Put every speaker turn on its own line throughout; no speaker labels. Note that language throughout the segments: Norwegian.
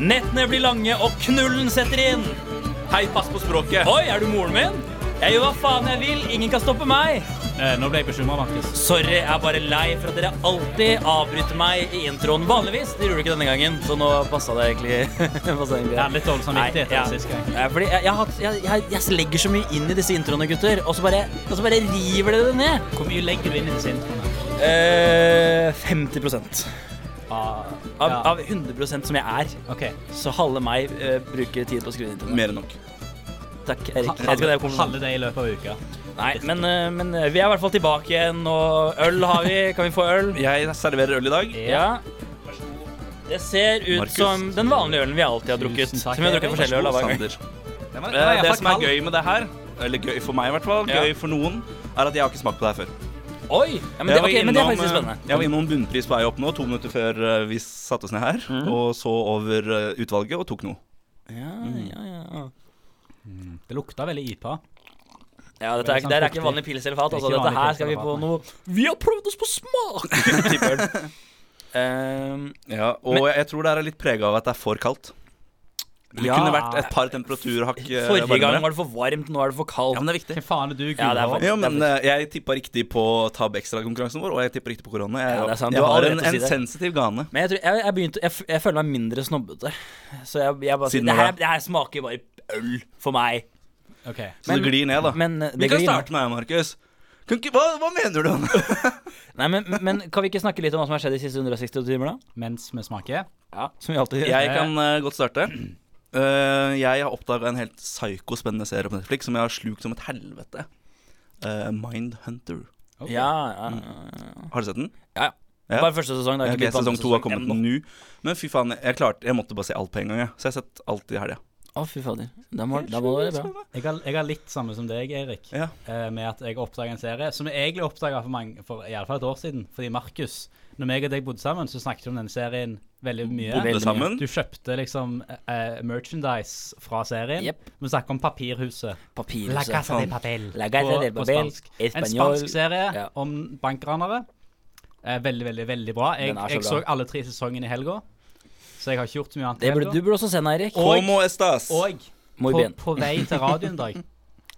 Nettene blir lange, og knullen setter inn. Hei, pass på språket. Oi, er du moren min? Jeg gjør hva faen jeg vil. Ingen kan stoppe meg.
Eh, nå ble jeg bekymra, Markus.
Sorry, jeg er bare lei for at dere alltid avbryter meg i introen. Vanligvis. Det gjorde du ikke denne gangen, så nå passa det egentlig. passa det egentlig.
Jeg hadde litt dårlig samvittighet
Nei, ja.
den siste gangen.
Ja, Fordi jeg, jeg, har hatt- jeg, jeg, jeg legger så mye inn i disse introene, gutter, og så bare, og så bare river dere det ned.
Hvor mye legger du inn i disse introene?
Eh, 50
Ah,
av,
ja.
av 100 som jeg er,
OK.
så halve meg eh, bruker tid på å skrive inn introen.
Mer enn nok.
Takk, Erik. Jeg vet ikke om det
Halve
er kompliment.
halve det i løpet av uka.
Nei, men, eh, men vi er i hvert fall tilbake igjen, og øl har vi. Kan vi få øl?
Jeg serverer øl i dag.
Ja. Det ser ut
Markus.
som den vanlige ølen vi alltid har drukket.
Tusen takk,
Som vi har drukket
Erik.
forskjellige øl av hver gang.
Sander.
Den var- den var
Eh, Det
iallfall
som er
kald.
gøy med det her, eller gøy for meg i hvert fall,
Ja.
gøy for noen, er at jeg har ikke smakt på det her før.
Oi! Ja, men, det,
Jeg var
ok, men det Mm, er
innom,
faktisk
eh,
spennende.
Jeg var innom bunnpris på vei opp nå, to minutter før eh, vi satte oss ned her. Og så over eh, utvalget og tok noe.
Ja, ja, ja.
Det lukta veldig IPA.
ja dette er,
Veldig sånn
det er
fuktig.
ikke vanlig pils eller fat.
Det er
Altså,
ikke
dette
vanlig
her
pils
skal vi
eller
på
fat, nei.
noe Vi har prøvd oss på smak! type øl. Ehm,
Ja, og jeg- jeg tror det her er litt prega av at det er for kaldt. Det
Ja.
kunne vært et par temperaturakk eh,
forrige gang
varmere.
var det for varmt, nå er det for
Ja,
kaldt.
men det er viktig.
Hva faen er du,
Ja, det er
Gulrot?
faktisk-
Ja, men eh, jeg tippa riktig på Tab Extra-konkurransen vår, og jeg tippa riktig på korona. Jeg,
Ja, det er sant. Du
jeg
har
har
rett
en,
til å si
en
det.
sensitiv gane.
Men jeg, tror, jeg, jeg, begynte, jeg, f- jeg føler meg mindre snobbete. Så jeg, jeg bare sier
Siden
det
når
her,
da?
det her smaker bare øl for meg.
OK.
Så det glir ned, da.
Men eh,
Vi
det
kan
glir-
starte med deg, Markus. Kan ikke, hva, hva mener du?
Nei, men, men kan vi ikke snakke litt om hva som har skjedd de siste 160 timer, da?
Mens vi smaker.
Ja, Som vi alltid gjør.
jeg kan eh, godt starte. Eh, jeg har oppdaga en helt psykospennende serie på Netflix som jeg har slukt som et helvete. Eh, Mindhunter.
Ok.
Ja, ja, ja,
Ah.
ja.
Har du sett den?
ja.
Mm. Ja.
Bare første sesong. da.
Ok,
Ikke blitt på andre
sesong to har kommet
ennå.
nå. Men fy faen, jeg klarte Jeg måtte bare se alt på en gang, jeg. Så jeg har sett alt i helga.
Å, fy fader. Da må, da må det være bra.
Jeg har, jeg har litt samme som deg, Erik,
Ja.
eh, med at jeg oppdaga en serie som jeg egentlig oppdaga for, mange- for i alle fall et år siden. Fordi Markus, når meg og deg bodde sammen, så snakket vi om den serien veldig mye.
Bodde
Bodde sammen.
Du kjøpte liksom eh, merchandise fra serien.
Jepp.
Vi snakker om Papirhuset.
Papirhuset.
de
Papel.
altså. La Casa
På-
del
på
Papel.
spansk. En
Espanol.
spansk serie
Ja.
om bankranere. Eh, veldig, veldig veldig bra. Jeg,
Den er så
jeg
bra.
så alle tre sesongene i helga, så jeg har ikke gjort så mye annet. i
Det burde,
helga.
du burde også se den, Eirik.
Og-
Como estas?
Og
Muy
på,
bien.
på vei til radio en dag,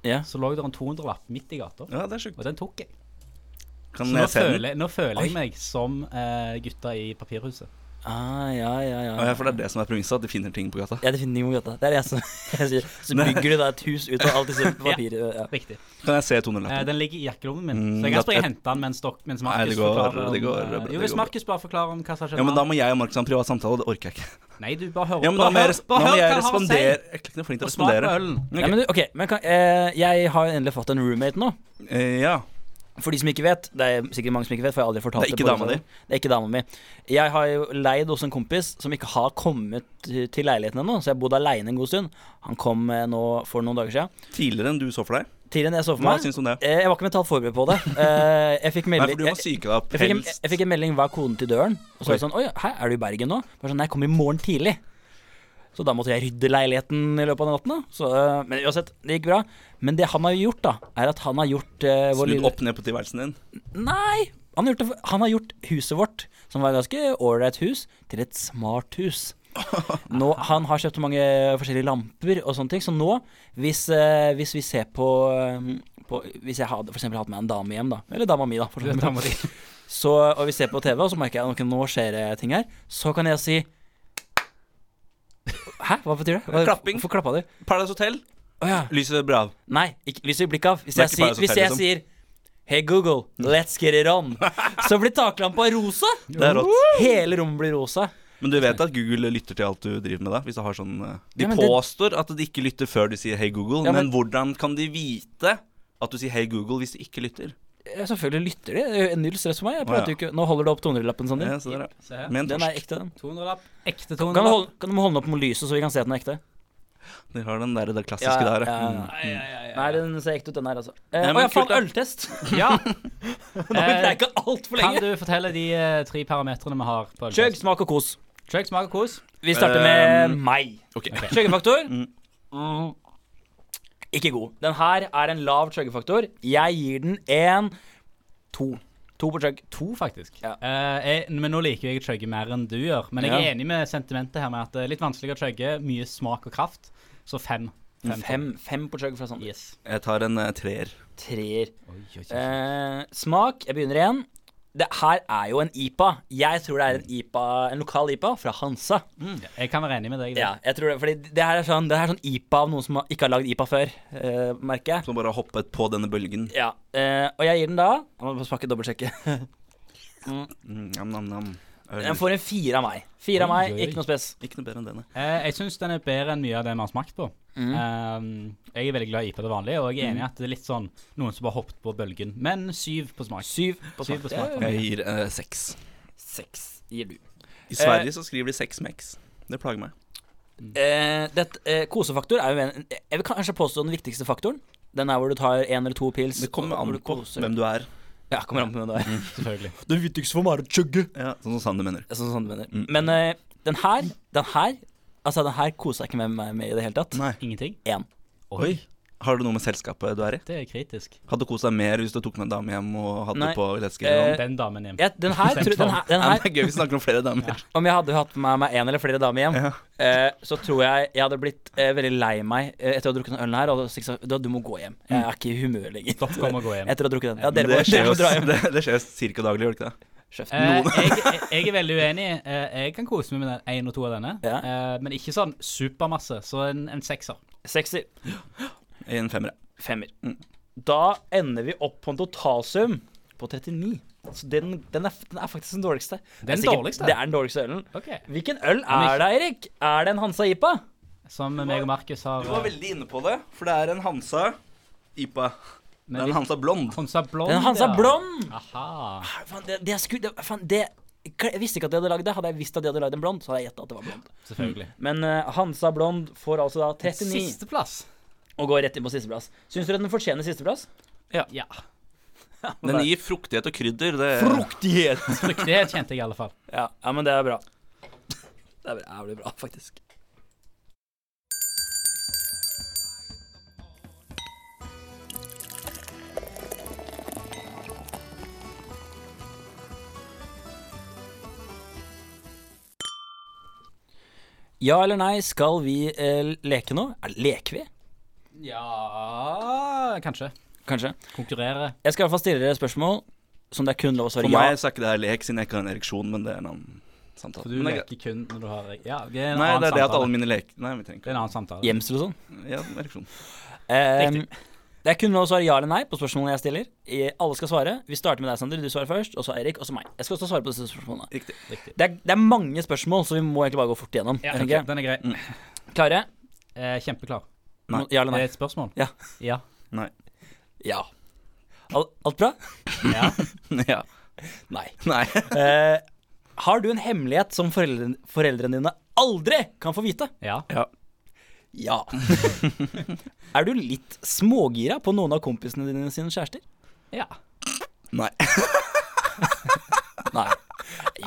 Ja.
så lå det en 200-lapp midt i gata.
Ja, det er sjukt.
Og den tok jeg.
Sånn Kan
Så nå
jeg se den?
føler, nå føler
Oi.
jeg meg som eh, gutta i Papirhuset.
Ah, ja, ja, ja.
Å, ja, for det er det som er premisset, at de finner ting på gata.
Ja, det finner de i gata. Det er det jeg som jeg sier. Så bygger du da et hus ut av alt disse papiret. Ja.
Riktig.
Kan jeg se
Eh,
200-lappen?
den ligger i jakkelommen min,
Mm,
så jeg kan
det-
springe og hente den mens, dok- mens Markus
Nei, det går-
forklarer om,
det går-
eh,
det
Jo, hvis
går bra.
Markus bare forklarer om hva som har skjedd
Ja,
med
men da må jeg og Markus ha en privat samtale, og det orker jeg ikke.
han. Nei, du bare hører
Ja, men
bare
da må jeg,
hør-
res da
bare
må
hør
jeg
hva han har å si.
respondere Jeg er ikke noe flink til å
Og smak på
respondere.
ølen.
Ok.
Ja, men du, ok, men kan, eh, Jeg har endelig fått en roommate nå.
Eh, ja.
For de som ikke vet, det er sikkert mange som ikke vet, for jeg har aldri fortalt
Det er
på
ikke dama di.
radioen. Det er ikke dama mi. Jeg har jo leid hos en kompis som ikke har kommet eh, til leiligheten ennå, så jeg har bodd aleine en god stund. Han kom eh, nå for noen dager siden.
Tidligere enn du så for deg.
Tidligere enn jeg så for
Hva
meg.
syns du om det?
Eh, Jeg var ikke mentalt forberedt på det. Eh, Jeg fikk
Nei,
melding
for du var
jeg-
syk av
jeg fikk, en,
pels.
jeg fikk en melding hva er koden til døren. Og så var det sånn Oi, hæ, er du i Bergen nå? Bare sånn, Nei, jeg kommer i morgen tidlig. Så da måtte jeg rydde leiligheten i løpet av den natten. da så, eh, Men uansett, det gikk bra. Men det han har gjort, da, er at han har gjort eh, vår
Snudd
lille
opp ned på tilværelsen din.
Nei! Han har, gjort det, han har gjort huset vårt, som var et ganske ålreit hus, til et smart hus. Nå, han har kjøpt mange forskjellige lamper og sånne ting, så nå, hvis, eh, hvis vi ser på, eh, på Hvis jeg hadde for eksempel hatt med en dame hjem, da, eller dama mi, da, for
Du vet,
eksempel,
da må de-
så, og vi ser på TV, og så merker jeg at nå skjer det ting her, så kan jeg si Hæ? Hva betyr det? Hva,
Klapping.
Hvorfor klappa du?
Paradise Hotel.
Å ja.
Lyset ble av.
Nei, ikke, lyset i blikket av. Hvis
Det er
jeg,
ikke
sier,
Paradise
hvis
Hotel,
jeg sier Hey Google, let's get it on, så blir taklampa rosa.
Det er rått.
Hele rommet blir rosa.
Men du vet at Google lytter til alt du driver med, da? Hvis du har sånn eh, De
Ja, men det-
påstår at de ikke lytter før du sier 'Hei, Google',
Ja, men-
men hvordan kan de vite at du sier 'Hei, Google' hvis de ikke lytter?
Eh, Selvfølgelig lytter de. Det er jo Null stress for meg. Jeg
Å, ja.
prater jo ikke Nå holder du opp 200-lappen, Sander.
Ja, så der,
Se
ja.
her.
Med en
Den er
torsk.
ekte, den.
200-lapp. Ekte
Kan du,
200-lapp.
holde, kan du holde den opp mot lyset, så vi kan se at den er ekte?
De har den der, det klassiske
ja,
der.
ja.
Mm.
Ja, ja, ja, ja.
Nei, den ser ekte ut, den her, altså. Eh,
Nei,
Å
men
ja, faen,
kult, da.
øltest!
Ja.
Nå
Eh,
ble ikke altfor
Kan
lenge.
du fortelle de eh, tre parametrene vi har på
Kjøgg,
ølfest?
smak og kos.
Kjøgg, smak og kos.
Vi starter med
Um,
meg.
Ok.
Kjøggefaktor?
Mm.
Mm. Ikke god. Den her er en lav kjøggefaktor. Jeg gir den en to. To på chug.
To, faktisk.
Ja.
Eh, jeg, men nå liker jo jeg å chugge mer enn du gjør. Men jeg er
Ja.
enig med sentimentet her med at det er litt vanskelig å chugge. Mye smak og kraft. Så fem.
Mm, Fem, fem på chug fra Sander.
Yes.
Jeg tar en eh, treer.
Treer.
Oi, oi, oi.
Eh, smak. Jeg begynner igjen. Det her er jo en IPA. Jeg tror det er en IPA, en lokal IPA fra Hansa.
Ja, Mm, Jeg kan være enig med deg. i det.
Ja, jeg tror det, fordi det her er sånn, det her er sånn IPA av noen som har- ikke har lagd IPA før, eh, merker jeg.
Som bare har hoppet på denne bølgen.
Ja, eh, og jeg gir den da Jeg må smake dobbeltsjekke.
Mm, nam, nam, nam. Øl.
Den får en fire av meg. Fire av
Oi,
meg,
oi.
ikke noe spes.
Ikke noe bedre enn denne.
Eh, jeg syns den er bedre enn mye av det vi har smakt på.
Mm.
Eh, jeg er veldig glad i IPA til vanlig, og jeg er enig i at det er litt sånn noen som har hoppet på bølgen. Men syv på smak.
Syv på
Syv
smak.
på smak.
Det er
Jeg gir eh, seks.
Seks gir du.
I Sverige så skriver de seks med x. Det plager meg.
Eh, dette, eh, kosefaktor er jo en Jeg vil kanskje påstå den viktigste faktoren. Den er hvor du tar én eller to pils.
Det kommer
og hvor
an
du
på
koser.
hvem du er.
Ja, kommer an på hvem du er.
Selvfølgelig.
Det viktigste for meg er å chugge.
Ja, sånn som Sander mener.
Sånn som du mener.
Mm.
Men eh, den her, den her Altså, den her koser jeg ikke med meg med i det hele tatt.
Nei.
Ingenting.
Én.
Oi. Har du noe med selskapet du er i?
Det er kritisk.
Hadde du kost deg mer hvis du tok med en dame hjem og hadde
Nei.
på lettskriv?
Eh,
Den damen hjem.
Ja, den her, tror, den her, den
Nei,
her
det er gøy vi snakker om flere damer.
Om jeg hadde hatt med meg én eller flere damer hjem,
Ja.
eh, så tror jeg jeg hadde blitt eh, veldig lei meg eh, etter å ha drukket den ølen her. Og hadde sagt sånn, da, du må gå hjem. Jeg
Mm.
er ikke i humør lenger.
Stopp, kom og gå hjem.
Etter å ha drukket den. Ja,
Det,
dere må,
skjer
dere
jo-
må dra hjem.
det, det skjer jo ca. daglig, gjør det ikke det?
Kjeft.
Eh, jeg, jeg- jeg er veldig uenig. Eh, jeg kan kose meg med den én og to av denne,
Ja.
eh, men ikke sånn supermasse. Så en, en sekser.
Eh, Sekser.
I en femmer. ja.
Femmer.
Mm.
Da ender vi opp på en totalsum på 39. Så den, den, er, den er faktisk den dårligste. Det er
Den
sikkert-
dårligste?
Det er den dårligste ølen.
Ok.
Hvilken øl er det, Eirik? Er det en Hansa Ipa?
Som meg og Markus har
Du var
eh,
veldig inne på det, for det er en Hansa IPA. Det
men
er en
vi-
Hansa blond.
eh, Hansa Blond.
Den er Hansa
ja.
Blond!
Aha.
Nei, Faen, det, det er sku... Det, faen, det jeg visste ikke at de hadde lagd det. Hadde jeg visst at de hadde lagd en blond, så hadde jeg gjetta at det var blond.
Selvfølgelig.
Men eh, Hansa Blond får altså da 39
Sisteplass.
og går rett inn på sisteplass. Syns dere den fortjener sisteplass?
Ja.
Den gir fruktighet og krydder. Det,
Fruktighet!
Fruktighet kjente jeg i alle fall.
Ja, ja, men det er bra. Det er jævlig bra, faktisk. Ja eller nei, skal vi eh, leke nå? Er- Leker vi,
Ja Kanskje.
kanskje?
Konkurrere.
Jeg skal i hvert fall stille dere spørsmål som det er kun lov å
for
svare ja
meg så er ikke det her lek, siden jeg ikke har en ereksjon, men det er en annen samtale.
For du
Men det er greit.
leker kun når du har Ja, det er en
Nei,
annen
det er det at
samtale.
alle mine leker Nei, vi trenger
Det er en annen samtale.
gjemsel og sånn.
ikke Ja, ereksjon.
Ehm, det er kun lov å svare ja eller nei på spørsmålene jeg stiller. I- Alle skal svare. Vi starter med deg, Sander. Du svarer først, og så Eirik, og så meg. Jeg skal også svare på disse spørsmålene.
Riktig.
Riktig.
Det er, det er mange spørsmål, så vi må egentlig bare gå fort igjennom.
Ja,
jeg tenker.
ok, Den er grei.
Klare?
Eh, kjempeklar.
Nei.
Mm. Ja eller
Er
nei?
det et spørsmål?
Ja.
Ja.
Nei.
Ja. Alt, alt bra?
ja.
ja.
Nei.
Nei.
Eh, har du en hemmelighet som foreldrene, foreldrene dine aldri kan få vite?
ja.
Ja.
Ja. er du litt smågira på noen av kompisene dine sine kjærester?
Ja.
Nei.
Nei.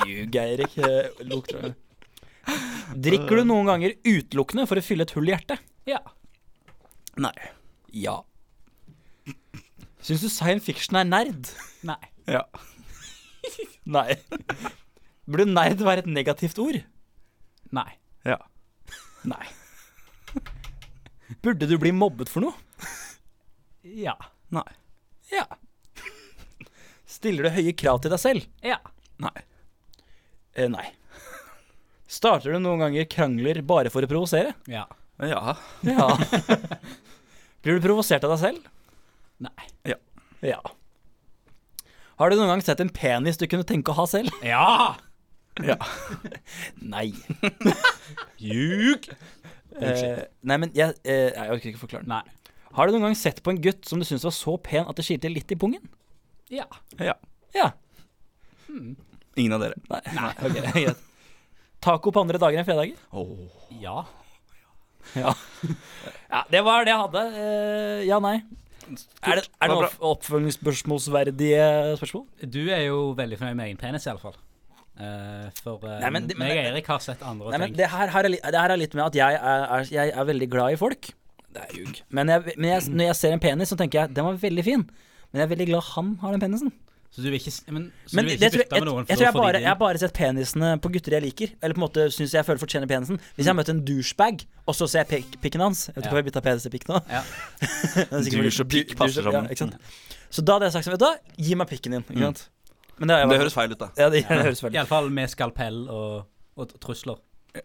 Ljug, Eirik. Eh, Lukter det. Drikker du noen ganger utelukkende for å fylle et hull i hjertet?
Ja.
Nei.
Ja. Syns du science fiction er nerd?
Nei.
Ja.
Nei. Burde nerd være et negativt ord?
Nei.
Ja.
Nei. Burde du bli mobbet for noe?
Ja.
Nei.
Ja. Stiller du høye krav til deg selv?
Ja.
Nei.
Eh, nei. Starter du noen ganger krangler bare for å provosere?
Ja.
Ja.
Ja. Blir du provosert av deg selv?
Nei.
Ja. Har du noen gang sett en penis du kunne tenke å ha selv?
Ja!
Ja.
Nei.
Ljug.
Eh, nei, men jeg, eh, jeg orker ikke forklare den.
Nei.
Har du noen gang sett på en gutt som du syntes var så pen at det skilte litt i pungen?
Ja.
Ja.
Ja.
Ingen av dere.
Nei. Ok, greit. Taco på andre dager enn fredager?
Åh.
Ja.
Ja. ja. Det var det jeg hadde. Eh, ja, nei. Er det, er det noen
var
opp- oppfølgingsspørsmålsverdige spørsmål?
Du er jo veldig fornøyd med egen penis, i alle fall. Eh, for eh,
Nei, men det- men
meg og
det-
Erik har sett andre og
Nei, men
tenkt
det her, her, er, li- det her er litt med at jeg er, er, jeg er veldig glad i folk. Det er ljug. Men, jeg, men jeg, når jeg ser en penis, så tenker jeg den var veldig fin. Men jeg er veldig glad han har den penisen.
Så du vil ikke, s- men, så
Men
du vil
det
ikke
tror jeg,
bytte
jeg,
med noen
jeg, tror jeg,
fordi
bare,
de-
jeg har bare sett penisene på gutter jeg liker. Eller på en måte syns jeg føler fortjener penisen. Hvis jeg har møtt en douchebag, og så ser jeg pek- pikken hans Jeg vet ikke
Ja.
hva jeg bytta penis til pikk nå.
Ja.
Det er sikkert fordi-
Douche og pikk
du- douche-
passer
ja,
sammen.
ikke sant? Så da hadde jeg sagt sånn, vet du hva, gi meg pikken din. Ikke
Mm.
sant? Men det, har jeg
Det
vært-
høres feil ut, da.
ja, det, det høres veldig
Iallfall med skalpell og, og t- trusler.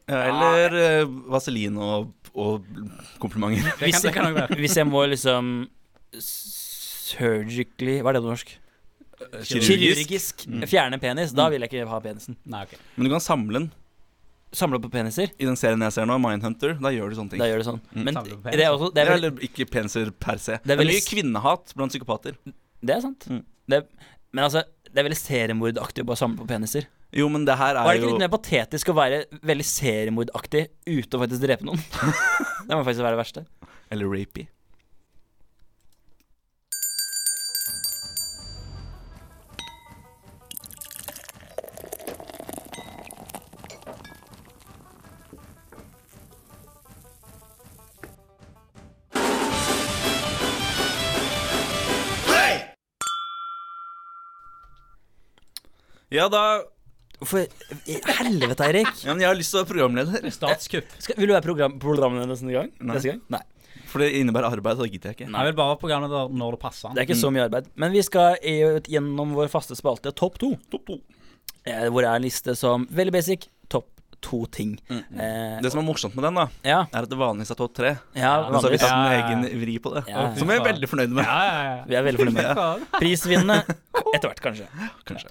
Ja, Eller eh, vaselin og, og komplimenter.
Det kan, det kan også være.
Hvis jeg må liksom surgically Hva er det på norsk?
Kirurgisk.
Mm. Fjerne penis. Da vil jeg ikke ha penisen.
Nei, ok.
Men du kan samle den.
Samle på peniser.
I den serien jeg ser nå, Mindhunter, da gjør du sånne ting.
Da gjør du sånn.
Mm.
Men
Samle på
det er, også, det er vel
Eller ikke peniser per se.
Det
Det
er
er,
vel-
mye kvinnehat blant psykopater.
Det er sant.
Mm.
Det, men altså, det er veldig seriemordaktig å bare samle på peniser.
Jo, men det her
Var
er
det ikke
jo
litt mer patetisk å være veldig seriemordaktig ute og faktisk drepe noen? det må faktisk være det verste.
Eller rapey. Ja da
For i helvete, Eirik.
ja, men Jeg har lyst til å være programleder.
Statskupp.
Skal, vil du være program, programleder neste gang?
Nei.
Neste gang? Nei.
For det innebærer arbeid, og det gidder jeg ikke.
Jeg vil bare ha programmet der når det passer.
Det er
Mm.
ikke så mye arbeid. Men vi skal i- gjennom vår faste spalte Topp to.
Topp to.
Eh, hvor det er en liste som Veldig basic. Topp to ting.
Mm.
Eh,
Det som er morsomt med den, da,
ja,
er at det vanligvis er topp tre.
ja,
Men så har vi
vanligvis.
satt en
Ja, ja, ja.
egen vri på det.
Ja,
Som jeg er veldig fornøyd med.
Ja, ja, ja.
Vi er veldig fornøyd med det.
Faen.
Prisvinnende etter hvert, kanskje.
Kanskje.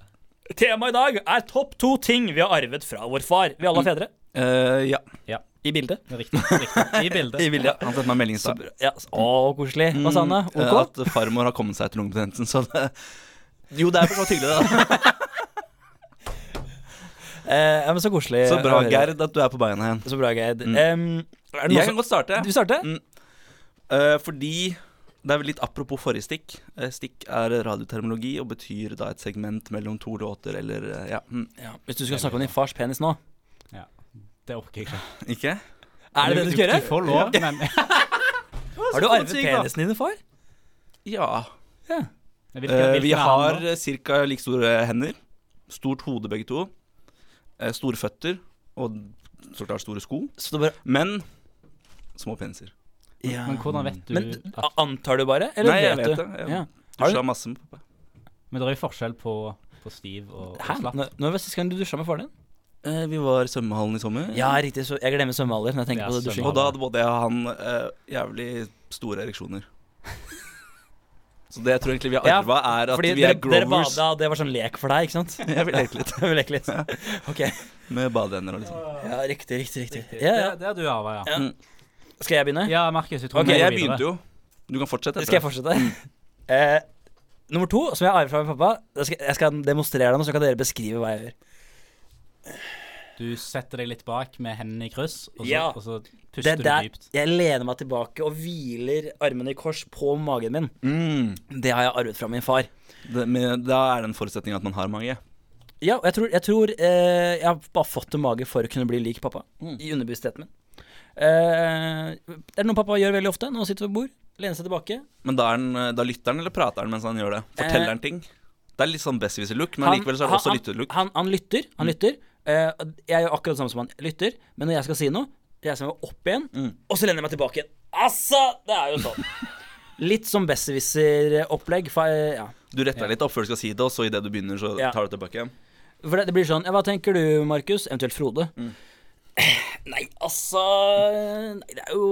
Temaet i dag er topp to ting vi har arvet fra vår far. Vi alle har fedre.
Eh, ja.
Mm. I bildet.
Riktig. riktig. I bildet.
I bildet. Han sendte meg en melding i
Så
stad.
bra. Ja, s- å, koselig. Hva sa han da?
Eh,
OK?
At farmor har kommet seg til lungebetennelsen, så det Jo, det er for så vidt hyggelig, da.
Eh, ja, men så koselig.
Så bra,
å høre.
Gerd, at du er på beina igjen.
Så bra, Gerd.
Mm.
Em, er det noe
Jeg
som
kan godt starte.
Du starter?
Mm. Eh, fordi det er vel litt apropos forrige stikk. Eh, Stikk er radioterminologi og betyr da et segment mellom to låter eller eh, Ja. Mm.
Ja, hvis du skal snakke om din fars penis nå,
Det orker jeg ikke.
Ikke?
er det det du skal
Du
gjøre?
får lov, men
Har du arvet
Sinnssykt, da.
penisen din, far?
Ja.
Hvilken-
Eh, vi
hvilken
har
annen da?
eh, ca. like store hender. Stort hode, begge to. Eh, Store føtter og så klart store sko.
Så det bare
Men små peniser.
ja.
Men hvordan vet du
eh, Men
at
a- antar du bare, eller
Nei, jeg
vet
vet
du?
det. Jeg
Ja. Har du-
Dusja masse med pappa.
Men det er jo forskjell på, på stiv og, og
Hæ?
slapp.
Når, når var sist gang du dusja med faren din?
Eh, Vi var i svømmehallen i sommer.
Ja, riktig. Så jeg glemmer svømmealder når jeg tenker
Ja,
på det dusjing.
Og da hadde både jeg og han eh, jævlig store ereksjoner. Så det jeg tror egentlig vi har
Ja,
arva, er at
Fordi
vi
dere,
er
dere
growers
bada, det var sånn lek for deg, ikke sant?
Jeg vil leke litt
Det var lek litt. Ok.
med badeender og liksom.
Ja, riktig, riktig, riktig.
Riktig.
Ja, ja.
Det, det har du arva, ja.
Ja. Skal jeg begynne?
Ja, Markus, jeg tror
Ok,
Men
vi går
jeg
videre.
begynte jo. Du kan fortsette.
Skal jeg fortsette?
Mm.
Eh, nummer to, som jeg arver fra min pappa da skal, Jeg skal demonstrere det nå, så kan dere beskrive hva jeg gjør.
Du setter deg litt bak med hendene i kryss, og så,
Ja.
og så
Det
puster
er
du
der
dypt.
jeg lener meg tilbake og hviler armene i kors på magen min.
Mm.
Det har jeg arvet fra min far.
Det, men da er det en forutsetning at man har mage.
Ja, og jeg tror, jeg, tror eh, jeg har bare fått en mage for å kunne bli lik pappa.
Mm.
I underbevisstheten min. Eh, det er noe pappa gjør veldig ofte når han sitter ved bord. Lener seg tilbake.
Men da, er den, eh, da lytter han eller prater han mens han gjør det?
Eh.
Forteller han ting? Det er litt sånn besserwisser-look, men likevel så er det også
han-
lytterlook. Mm.
Han, han lytter. Han lytter. Eh, jeg gjør akkurat det samme som han lytter, men når jeg skal si noe, reiser jeg meg opp igjen,
Mm.
og så lener jeg meg tilbake igjen. Altså, det er jo sånn. Litt som besserwisser-opplegg. For, eh, ja.
Du retter deg litt opp før du skal si det, og så idet du begynner, så
Ja.
tar du tilbake igjen.
for det, det blir sånn ja, Hva tenker du, Markus? Eventuelt Frode.
Mm.
Nei, altså Nei, det er jo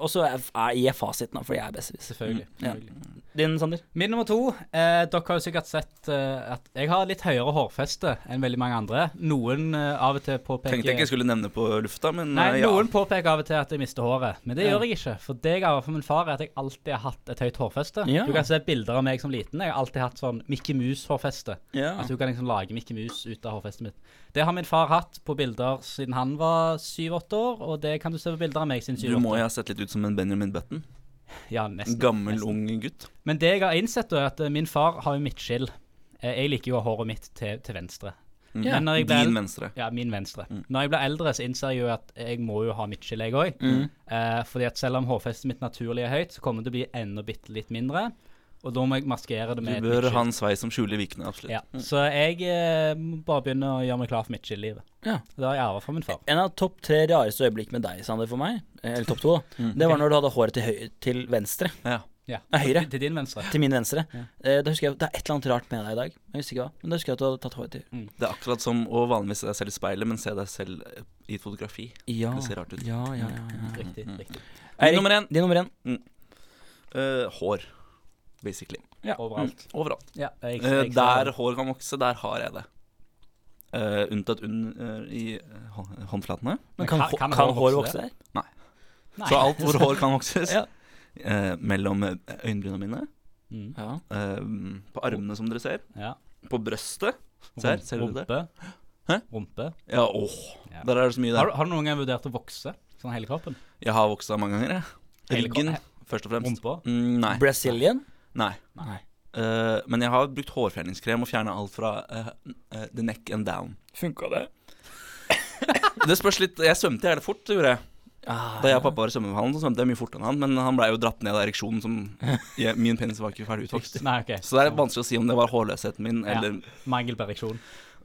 Og så er er- gir jeg fasiten, da, fordi jeg er besserwisser.
Selvfølgelig.
Mm, Ja.
selvfølgelig.
Din, Sander?
Min nummer to. Eh, dere har jo sikkert sett eh, at jeg har litt høyere hårfeste enn veldig mange andre. Noen eh, av og til påpeker
Tenkte jeg ikke skulle nevne på lufta, men
Nei,
eh, ja.
Noen påpeker av og til at jeg mister håret, men det
Ja.
gjør jeg ikke. For det jeg arver fra min far, er at jeg alltid har hatt et høyt hårfeste.
Ja.
Du kan se bilder av meg som liten. Jeg har alltid hatt sånn Mickey Mus-hårfeste.
Ja.
At du kan liksom lage Mickey Mus ut av hårfestet mitt. Det har min far hatt på bilder siden han var syv-åtte år, og det kan du se på bilder av meg siden
Du må
syv-åtte.
jo ha sett litt ut som en Benjamin Button.
Ja,
En
nesten.
gammel,
nesten.
ung gutt.
Men det jeg har innsett, da, er at eh, min far har jo midtskill. Eh, Jeg liker jo å ha håret mitt til, til venstre.
Mm.
Ja.
Men når jeg ble
Din
eldre,
venstre. Mm.
ja, min venstre. Når jeg ble eldre, så innser jeg jo at jeg må jo ha midtskill, jeg
Mm.
òg. Eh, fordi at selv om hårfestet mitt naturlig er høyt, så kommer det til å bli enda bitte litt mindre. Og da må jeg maskere det
Du
med et
bør Mm.
midtskill.
ha en sveis som skjuler vikene, absolutt.
Ja. Så jeg eh, må bare begynner å gjøre meg klar for midtskill-livet.
Ja.
Det har jeg arva fra min far.
En av topp tre rareste øyeblikk med deg, Sander, for meg, eller topp to, da,
Mm.
det var når du hadde håret til, høy til venstre.
Ja.
Ja.
Nei, høyre.
Til- Til din venstre.
Til min venstre. Eh, Da husker jeg, Det er et eller annet rart med deg i dag. Jeg husker ikke hva, men da husker jeg at du hadde tatt håret til
Det er akkurat som å vanligvis se deg selv i speilet, men se deg selv eh, i et fotografi.
Ja.
Det ser rart ut.
Ja, ja, ja, ja.
Riktig.
Mm.
riktig.
Eirik,
nummer én.
Din nummer én.
Eh, hår, basically.
Ja.
Overalt.
Overalt.
Ja, jeg,
Eh,
jeg-
der hår kan vokse, der har jeg det. Eh, unntatt unn eh, i eh, hå- håndflatene.
Men kan,
kan-
hå-
kan
kan,
hår
hår
vokse
vokse der?
Nei.
Så alt hvor hår kan vokses.
Ja.
eh, mellom eh, øyenbrynene mine.
Mm,
Ja.
eh, på armene, som dere ser.
ja.
På brøstet. Se her, ser dere det?
Rumpe.
Hæ?
Rumpe.
Ja, åh.
Ja.
Der er det så mye
Har,
der.
du- har du noen gang vurdert å vokse sånn hele kroppen?
Jeg har vokst av mange ganger, jeg.
Hele kro-
Ryggen, først og fremst.
Rumpa?
Mm, nei.
Brazilian?
nei.
Nei.
Eh, men jeg har brukt hårfjerningskrem og fjerna alt fra eh, eh, the neck and down.
Funka det?
Det spørs litt Jeg svømte jævlig fort, det gjorde jeg.
Ah,
Da jeg og pappa var i svømmehallen, så svømte jeg mye fortere enn han, men han blei jo dratt ned av ereksjonen som jeg, Min penis var ikke ferdig utvokst.
Nei, ok.
Så det er vanskelig å si om det var hårløsheten min
Ja.
eller
Mangel på ereksjon.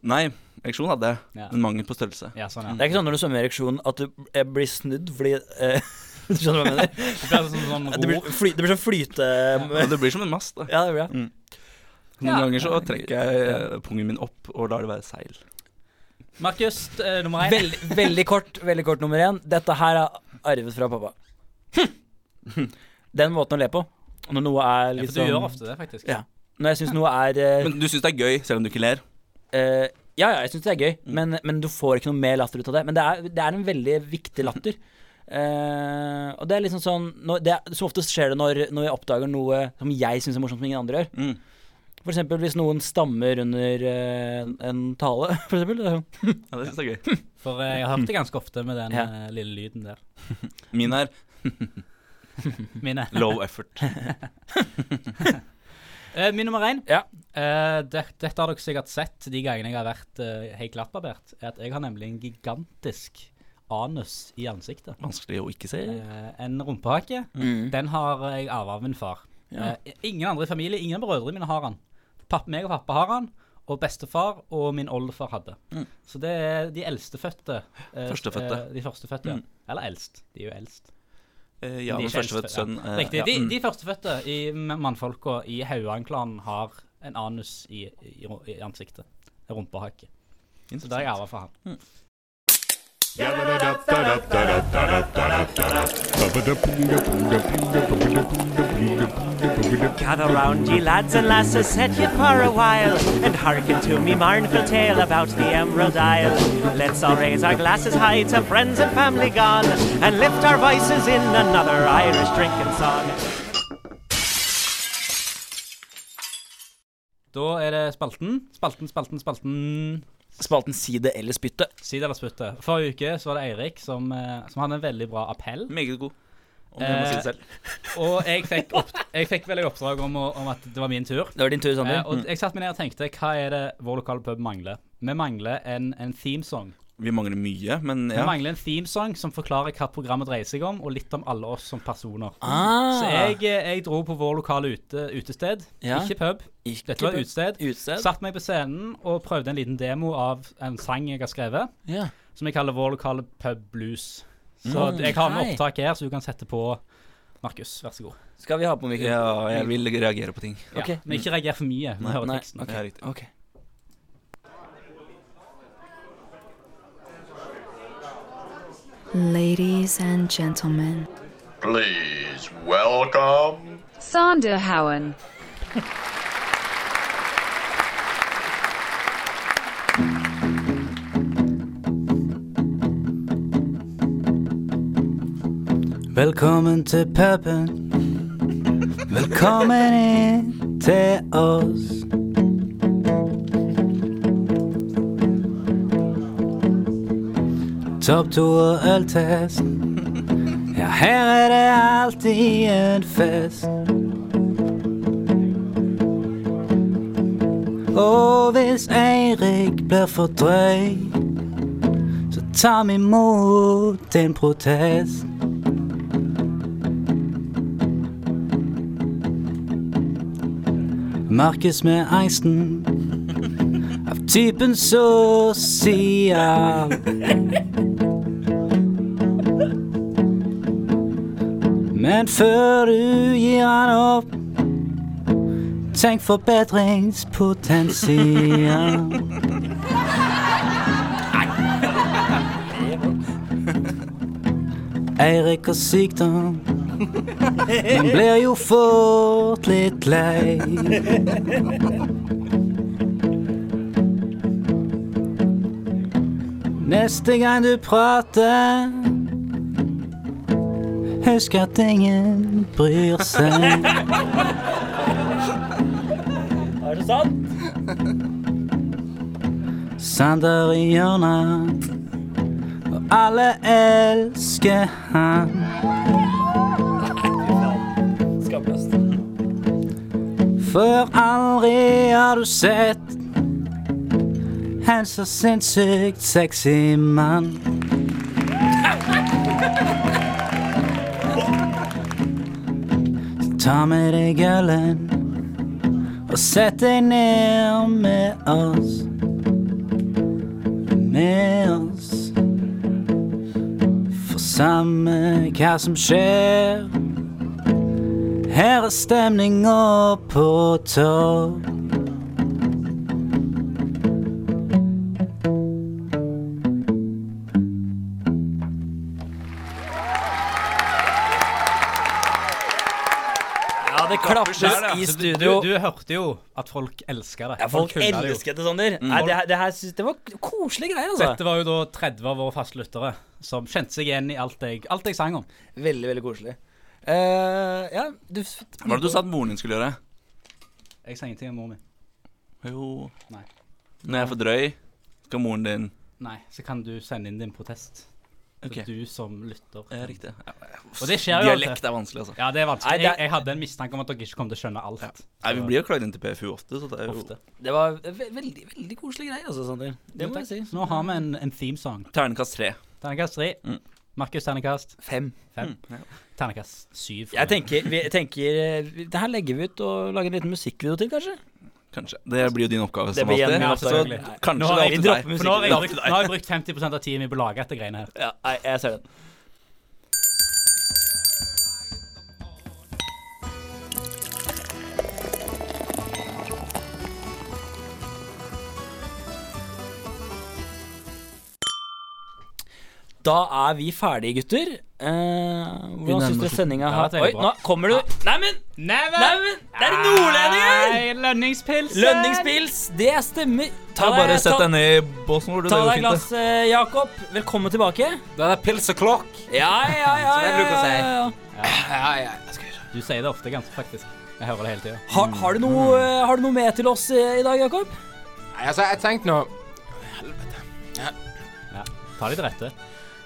Nei, ereksjon hadde jeg,
Ja.
Mm.
men mangel på størrelse.
ja, sånn, ja.
Det er ikke sånn når du svømmer i ereksjon at du eh, blir snudd fordi eh, Du skjønner hva jeg mener?
Det blir sånn, sånn
Det blir,
ror.
fly, det blir sånn flyte...
Og det blir som en mast, da.
Ja, det blir det.
Noen
Ja.
ganger så trekker jeg eh, pungen min opp og lar det være seil.
Markus, eh, nummer én.
Veldig, veldig kort, veldig kort nummer én. Dette her er arvet fra pappa. Hm. Den måten å le på når noe er
Ja,
litt
for du gjør
sånn
ofte det, faktisk.
Ja. Når jeg syns noe er eh,
Men du syns det er gøy, selv om du ikke ler?
eh, Ja, ja, jeg syns det er gøy, men, men du får ikke noe mer latter ut av det. Men det er, det er en veldig viktig latter. Eh, og det er liksom sånn når, det er, Som oftest skjer det når, når jeg oppdager noe som jeg syns er morsomt, som ingen andre gjør.
Mm.
For eksempel hvis noen stammer under eh, en tale, for eksempel. Det er sånn.
Ja, det syns jeg er gøy.
For eh, jeg har hørt det ganske ofte med den
Ja.
eh, lille lyden der.
Min er
Mine.
low effort.
Eh, min nummer én.
Ja.
Eh, det, dette har dere sikkert sett de gangene jeg har vært eh, helt glattbarbert. er At jeg har nemlig en gigantisk anus i ansiktet.
Vanskelig å ikke se.
Eh, en rumpehake.
Mm.
Den har jeg arva av min far.
Ja.
Eh, ingen andre i familien, ingen av brødrene mine har han. Papp, meg og pappa har han, og bestefar og min oldefar hadde.
Mm.
Så det er de eldstefødte. eh,
Førstefødte.
eh, de førstefødte,
Mm.
ja. Eller eldst. De er jo eldst.
Eh, ja,
De er
men
ikke
førstefødt
eldstefødte,
sønn
ja.
eh,
Riktig.
ja,
De,
mm.
de førstefødte i m- mannfolka i Hauan-klanen har en anus i, i, ro- i ansiktet. En Rumpehake.
Mm,
Så det har jeg arva fra han.
Gather round, ye lads and lasses, set ye for a while, and hearken to me marnful tale about the Emerald Isle. Let's all raise our glasses high to friends and family gone, and lift our voices in another Irish drinking song.
Da er det spalten. Spalten, spalten, spalten.
Spalten side eller spytte.
Sid eller spytte. Forrige uke så var det Eirik som, eh, som hadde en veldig bra appell.
Meget god. Om jeg må si det selv.
Og jeg fikk, opp, jeg fikk vel et oppdrag om, å- om at det var min tur.
Det var din tur, Sander.
Eh, og jeg satt meg ned og tenkte hva er det vår lokale pub mangler? Vi mangler en, en themesong.
Vi mangler mye, men
Vi
ja.
mangler en themesong som forklarer hva programmet dreier seg om, og litt om alle oss som personer.
Ah,
Så jeg, eh, jeg dro på vår lokale ute, utested.
Ja.
Ikke pub.
Ikke
Dette var
på-
utested.
Utsted?
Satt meg på scenen og prøvde en liten demo av en sang jeg har skrevet,
Ja.
som jeg kaller Vår lokale pub blues. Så
Mm.
jeg har med
Hei.
opptak her, så du kan sette på. Markus, vær så god.
Skal vi ha på
ja,
mikrofonen?
jeg vil reagere på ting.
Ja,
Ok.
Men ikke reager for mye. Du hører
Nei,
teksten.
ok.
Det er riktig.
ok.
Ladies and gentlemen,
Please welcome
Sander Howen.
Velkommen til puben. Velkommen inn til oss. Topp to og øltest. Ja, her er det alltid en fest. Og hvis Eirik blir for drøy, så ta vi imot din protest. merkes med eisen av typen sosial. Men før du gir han opp, tenk forbedringspotensial. Eirik og sykdom. Men blir jo fort litt lei. Neste gang du prater, husk at ingen bryr seg.
Er det sant?
Sander i hjørnet, og alle elsker han.
Skamløst.
For aldri har du sett en så sinnssykt sexy mann. Så ta med deg ølen og sett deg ned med oss. Med oss. For samme hva som skjer. Her er stemninga på topp.
Ja, det klappes i
Så altså, du,
studio.
du, du hørte jo at folk elsker det.
ja, folk
hyller det jo.
elsket det, Sander. Nei, det, her- det her synes, det var k- koselige greier, altså.
Dette var jo da 30 av våre fastlyttere som kjente seg igjen i alt jeg, alt jeg sang om.
Veldig, veldig koselig. Eh, ja, du
Hva var det du sa at moren din skulle gjøre?
Jeg sang ingenting om mor mi.
Jo
Nei.
Når jeg er for drøy, skal moren din
Nei, så kan du sende inn din protest. Så
Ok.
Du som lytter.
eh, Riktig. Ja,
Og det skjer jo alltid.
Dialekt er vanskelig, altså.
Ja, det er
Nei,
vanskelig.
det er-
Jeg, jeg hadde en mistanke om at dere ikke kom til å skjønne alt.
Nei, Vi blir jo klagd inn til PFU ofte, så det er jo
Ofte.
Det var ve veldig, veldig koselige greier, altså, Sander. Det må jeg si.
Så Nå har vi en, en themesong.
Ternekast tre.
Ternekast 3.
Mm.
Markus ternekast
Fem.
5.
ja.
Ternekast 7.
Jeg tenker, vi, tenker eh, vi- Det her legger vi ut og lager en liten musikkvideo til, kanskje.
Kanskje. Det blir jo din oppgave.
Det
som
blir
alltid.
gjennom
Så
oppdraget.
d- kanskje
Nå har
det
vi
jeg-
er opp
dropper
til deg.
For nå har, jeg
Musikken-
brukt, nå har jeg brukt 50 av tiden min på å lage dette greiene her.
Ja, jeg, jeg ser den. Da er vi ferdige, gutter. Eh, hvordan syns dere sendinga
Ja,
har
det er
Oi,
bra.
nå kommer du Neimen!
Neven!
Neimen! Det er nordlendinger!
Lønningspils!
Lønningspils, det stemmer.
Ta
deg-
bare sett
ta-
deg ned i båsen, hvor du
Ta
det går
deg et
fint, det.
glass, eh, Jakob. Velkommen tilbake.
Det er pils og klokk.
Ja, ja, ja.
Som jeg
ja,
bruker å
ja,
si.
ja, ja.
Ja, ja, jeg skal gjøre sånn. det.
Du sier det ofte, ganske faktisk. Jeg hører det hele tida.
Har, har, du noe, eh, har du noe med til oss eh, i dag, Jakob?
Nei, altså, jeg tenkte nå
Ta deg til rette.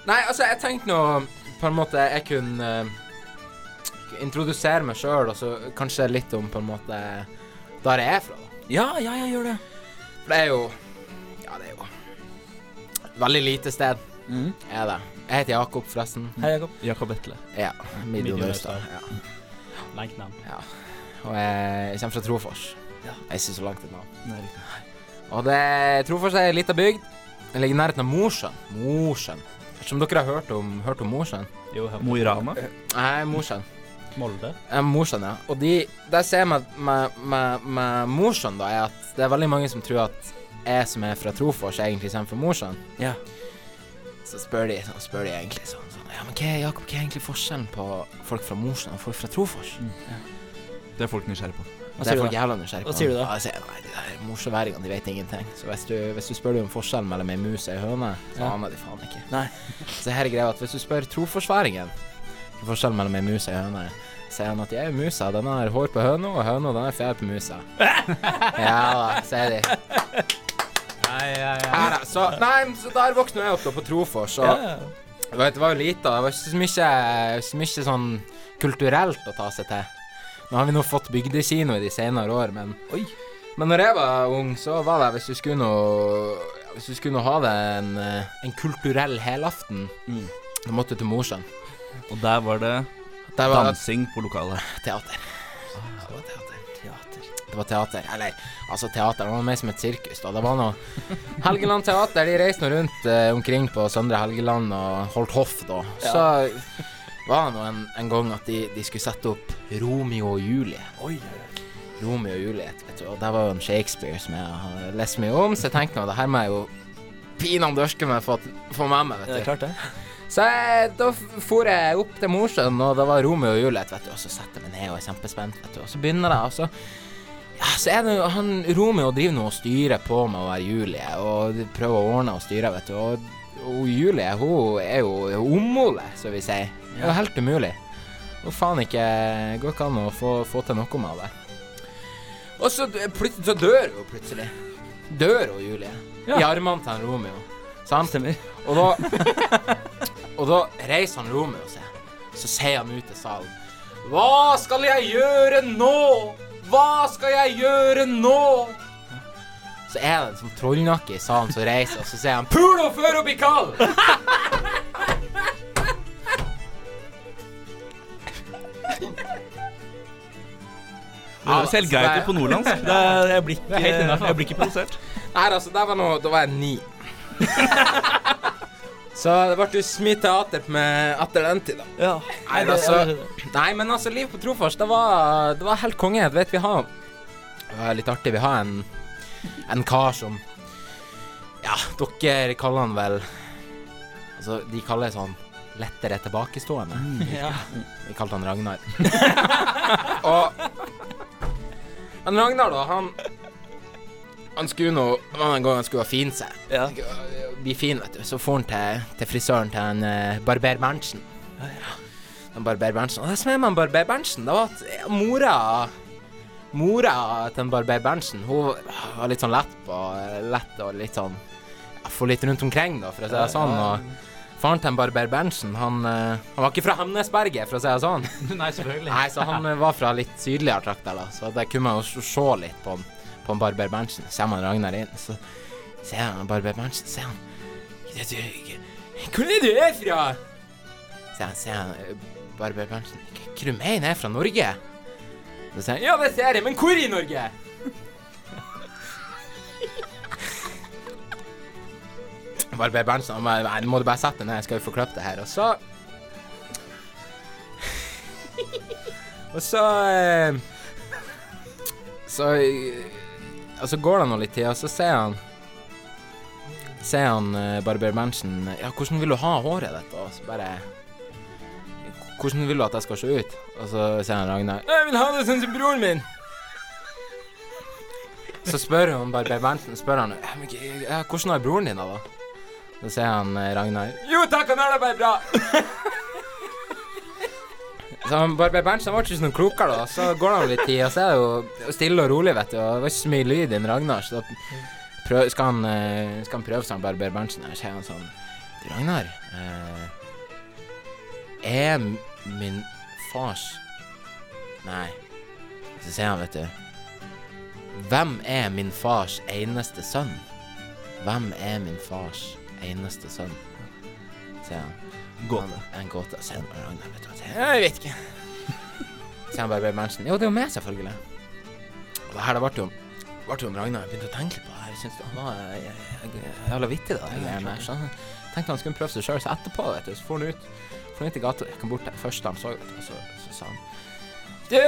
Nei, altså, jeg tenkte nå på en måte jeg kunne eh, introdusere meg sjøl, og så kanskje litt om på en måte der jeg er fra. da.
Ja, ja, jeg gjør det.
For det er jo Ja, det er jo veldig lite sted,
Mhm.
er det. Jeg heter Jakob, forresten.
Hei, Jakob.
Jakob Vetle.
Ja. Midtjord
Midtjord-Østad.
Østad. Ja.
Langt navn.
Og jeg, jeg kommer fra Trofors. Jeg synes så langt et navn.
Nei, riktig.
Og det, Trofors er ei lita bygd. Den ligger i nærheten av Mosjøen. Mosjøen. Som dere har hørt om, hørt om Mosjøen?
Jo, hør.
Mo i Rana.
Nei, Mosjøen.
Molde.
Eh, Mosjøen, ja. Og de, det jeg ser med, med, med, med Mosjøen, da, er at det er veldig mange som tror at jeg som er fra Trofors, egentlig kommer fra Mosjøen.
Ja.
Så spør de, så spør de egentlig sånn, sånn Ja, men hva, er- Jakob, hva er egentlig forskjellen på folk fra Mosjøen og folk fra Trofors?
Det er folk nysgjerrige på.
Hva
det
sier
er
du
folk
da?
jævla nysgjerrige
Hva sier du da?
Ja, jeg sier, nei, de der morseværingene, de vet ingenting. Så hvis du, hvis du spør dem om forskjellen mellom ei mus og ei høne, så
Ja.
aner de faen ikke.
Nei.
Så her er greia at hvis du spør troforsværingen hva forskjellen mellom ei mus og ei høne, sier han at jeg er musa, den har hår på høna, og høna den har fjær på musa. ja da, sier de.
Nei, ja, ja.
Ja, da, så, nei, men så der våkna jeg opp da på Trofors, og Du vet, det var jo lite, og det var ikke så mye, så mye sånn kulturelt å ta seg til. Nå har vi nå fått bygdekino i de senere år, men
Oi.
Men når jeg var ung, så var det hvis du skulle nå ja, Hvis du skulle nå ha deg en, eh, en kulturell helaften,
Mm.
da måtte du til Mosjøen.
Og der var det
Der var det
dansing på lokalet.
teater.
Ah.
Det var teater. Eller, altså teater, det var mer som et sirkus. da. Det var noe Helgeland teater. De reiste nå rundt eh, omkring på Søndre Helgeland og holdt hoff, da. Så var det nå en, en gang at de, de skulle sette opp Romeo og Julie. Romeo og Julie, vet du. Og det var jo en Shakespeare som jeg har lest mye om, så jeg tenkte nå det her må jeg jo pinadø dørske meg for å få med meg,
Det er
vet du.
klart, det.
Så jeg, da f- for jeg opp til Mosjøen, og det var Romeo og Juliet, vet du. Og så setter jeg meg ned og er kjempespent, vet du. Og så begynner jeg, og så ja, så er det jo han Romeo driver nå og styrer på med å være Julie, og de prøver å ordne og styre, vet du. Og, og Julie, hun er jo omole, som vi sier. Det er jo helt umulig. Hun faen ikke Går ikke an å få, få til noe med det. Og så, d- plut- så dør hun plutselig. Dør hun, Julie. I armene til han Romeo. Sant?
Stemmer.
Og da Og da reiser han Romeo seg. Så ser han ut i salen. Hva skal jeg gjøre nå? Hva skal jeg gjøre nå? Så er det en sånn trollnakke i salen som reiser, og så sier han Pulo før hun blir kald!
Det høres helt greit ut på nordlandsk. Det er, jeg, blir ikke,
helt innenfor.
jeg blir ikke provosert.
Nei, altså, der var noe, da var jeg ni. så det ble jo så mye teater med etter den tid, da.
Ja.
Nei, men altså, nei, men altså Liv på Trofors, det var, det var helt konge. Du vet, vi har Det var litt artig. Vi har en, en kar som Ja, dere kaller han vel Altså, de kaller det sånn lettere tilbakestående.
Mm. ja.
Vi kalte han Ragnar. og Men Ragnar, da, han Han skulle nå Det var en gang han skulle ha fin seg.
Ja.
Han skulle, øh, Bli fin, vet du. Så for han til, til frisøren til en eh, barber Berntsen. En barber Berntsen. Og det som er med en barber Berntsen, det var at eh, mora Mora til en barber Berntsen, hun var litt sånn lett på Lett og litt sånn ja, For litt rundt omkring, da, for å si det sånn. Og faren til en barber Berntsen, han, eh, han var ikke fra Hemnesberget, for å si det sånn.
Nei, selvfølgelig.
Nei, så han eh, var fra litt sydligere trakter, da. Så der kunne man jo s- se litt på, han- på han Barber Berntsen. Ser man Ragnar inn, så ser han Barber Berntsen, ser han «Ja, du, g- Hvor er du er fra? Ser han, ser han eh, Barber Berntsen «K- Hva du mener jeg er fra Norge? Så sier han Ja, det ser jeg, men hvor i Norge? Barber Berntsen han bare Nei, nå må du bare sette deg ned, jeg skal jo få kløpt det her. Og så Og så eh, Så eh, Og så går det nå litt tid, og så ser han Ser han eh, Barber Berntsen Ja, hvordan vil du ha håret ditt? Og så bare Hvordan vil du at jeg skal se ut? Og så sier han Ragnar Jeg vil ha det sånn som broren min! Så spør han Barber Berntsen Spør han «Ja, men k- ja, Hvordan har broren din det, da? Så sier han eh, Ragnar Jo takk, han har det bare bra! Så han Barber Berntsen var ikke så noe klokere, da. Så går det jo litt tid, og så er det jo stille og rolig, vet du. Og det var ikke så mye lyd i en Ragnar, så da prøv, skal, han, eh, skal han prøve seg, han Barber Berntsen her, så er han sånn Du, Ragnar, eh, er m- min fars Nei. Så sier han, vet du Hvem er min fars eneste sønn? Hvem er min fars eneste sønn? Sier han.
Gåte.
Han- En gåte. Og så er det bare Ragnar, vet du hva det er? Jeg vet ikke. Så han bare ble mensen. Jo, det er jo meg, selvfølgelig. Og det her, det ble jo ble jo en Ragnar begynte å tenke litt på det her. Jeg syntes det var eh, jeg- jeg- jævla vittig, det der greiene der. Så han tenkte han skulle prøve seg sjøl. Så etterpå, vet du, så for han ut For han ut i gata og gikk han bort til den første han så, vet du, og så, så sa han Du!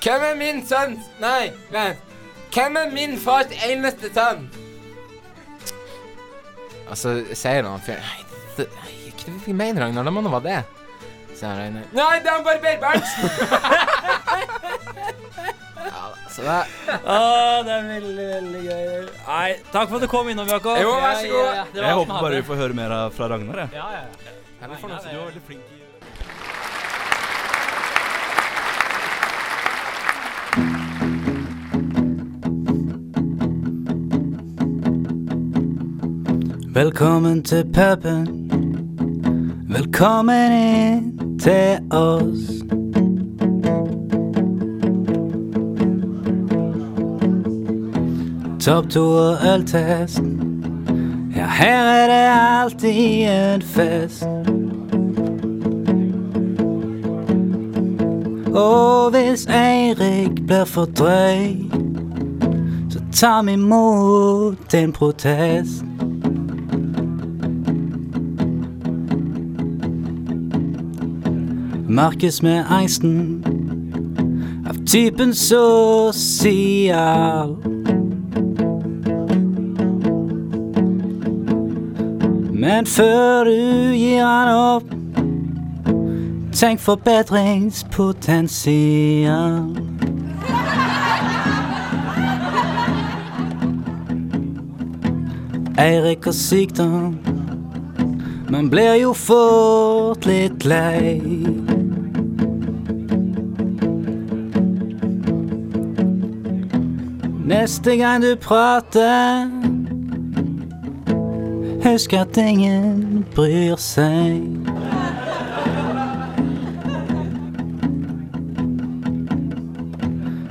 Hvem er min sønn? Nei, vent. Hvem er min fars eneste sønn? Og så sier han fyren Nei, det, nei, hva du mener Ragnar? Det må nå være det. Så sier Ragnar Nei, det er han Barber Berntsen! ja, da, så det
Å, det er veldig, veldig gøy. Nei, takk for at du kom innom, Jakob.
Jo, vær så
Det var
god.
Jeg
alt vi
håper bare
hadde.
vi får høre mer av- fra Ragnar. Jeg.
Ja, ja, ja.
Du er veldig flink i
Velkommen til puben. Velkommen inn til oss. Topp to og øltest. Ja, her er det alltid en fest.
Og hvis Eirik blir for drøy, så ta vi imot en protest. Merkes med angsten av typen sosial. Men før du gir han opp, tenk forbedringspotensial. Eirik har sykdom, men blir jo fort litt lei. Neste gang du prater, husk at ingen bryr seg.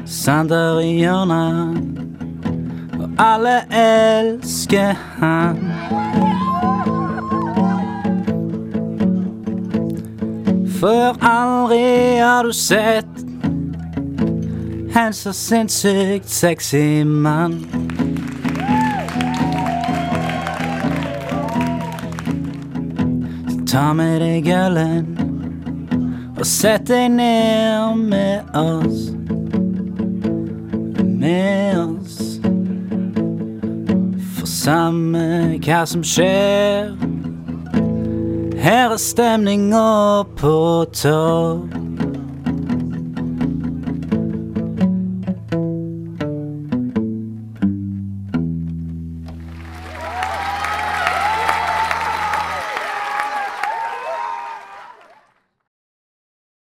Sander i hjørnet, og alle elsker han. For aldri har du sett en så sinnssykt sexy mann. Så ta med deg ølen og sett deg ned med oss. Med oss. For samme hva som skjer, her er stemninga på topp.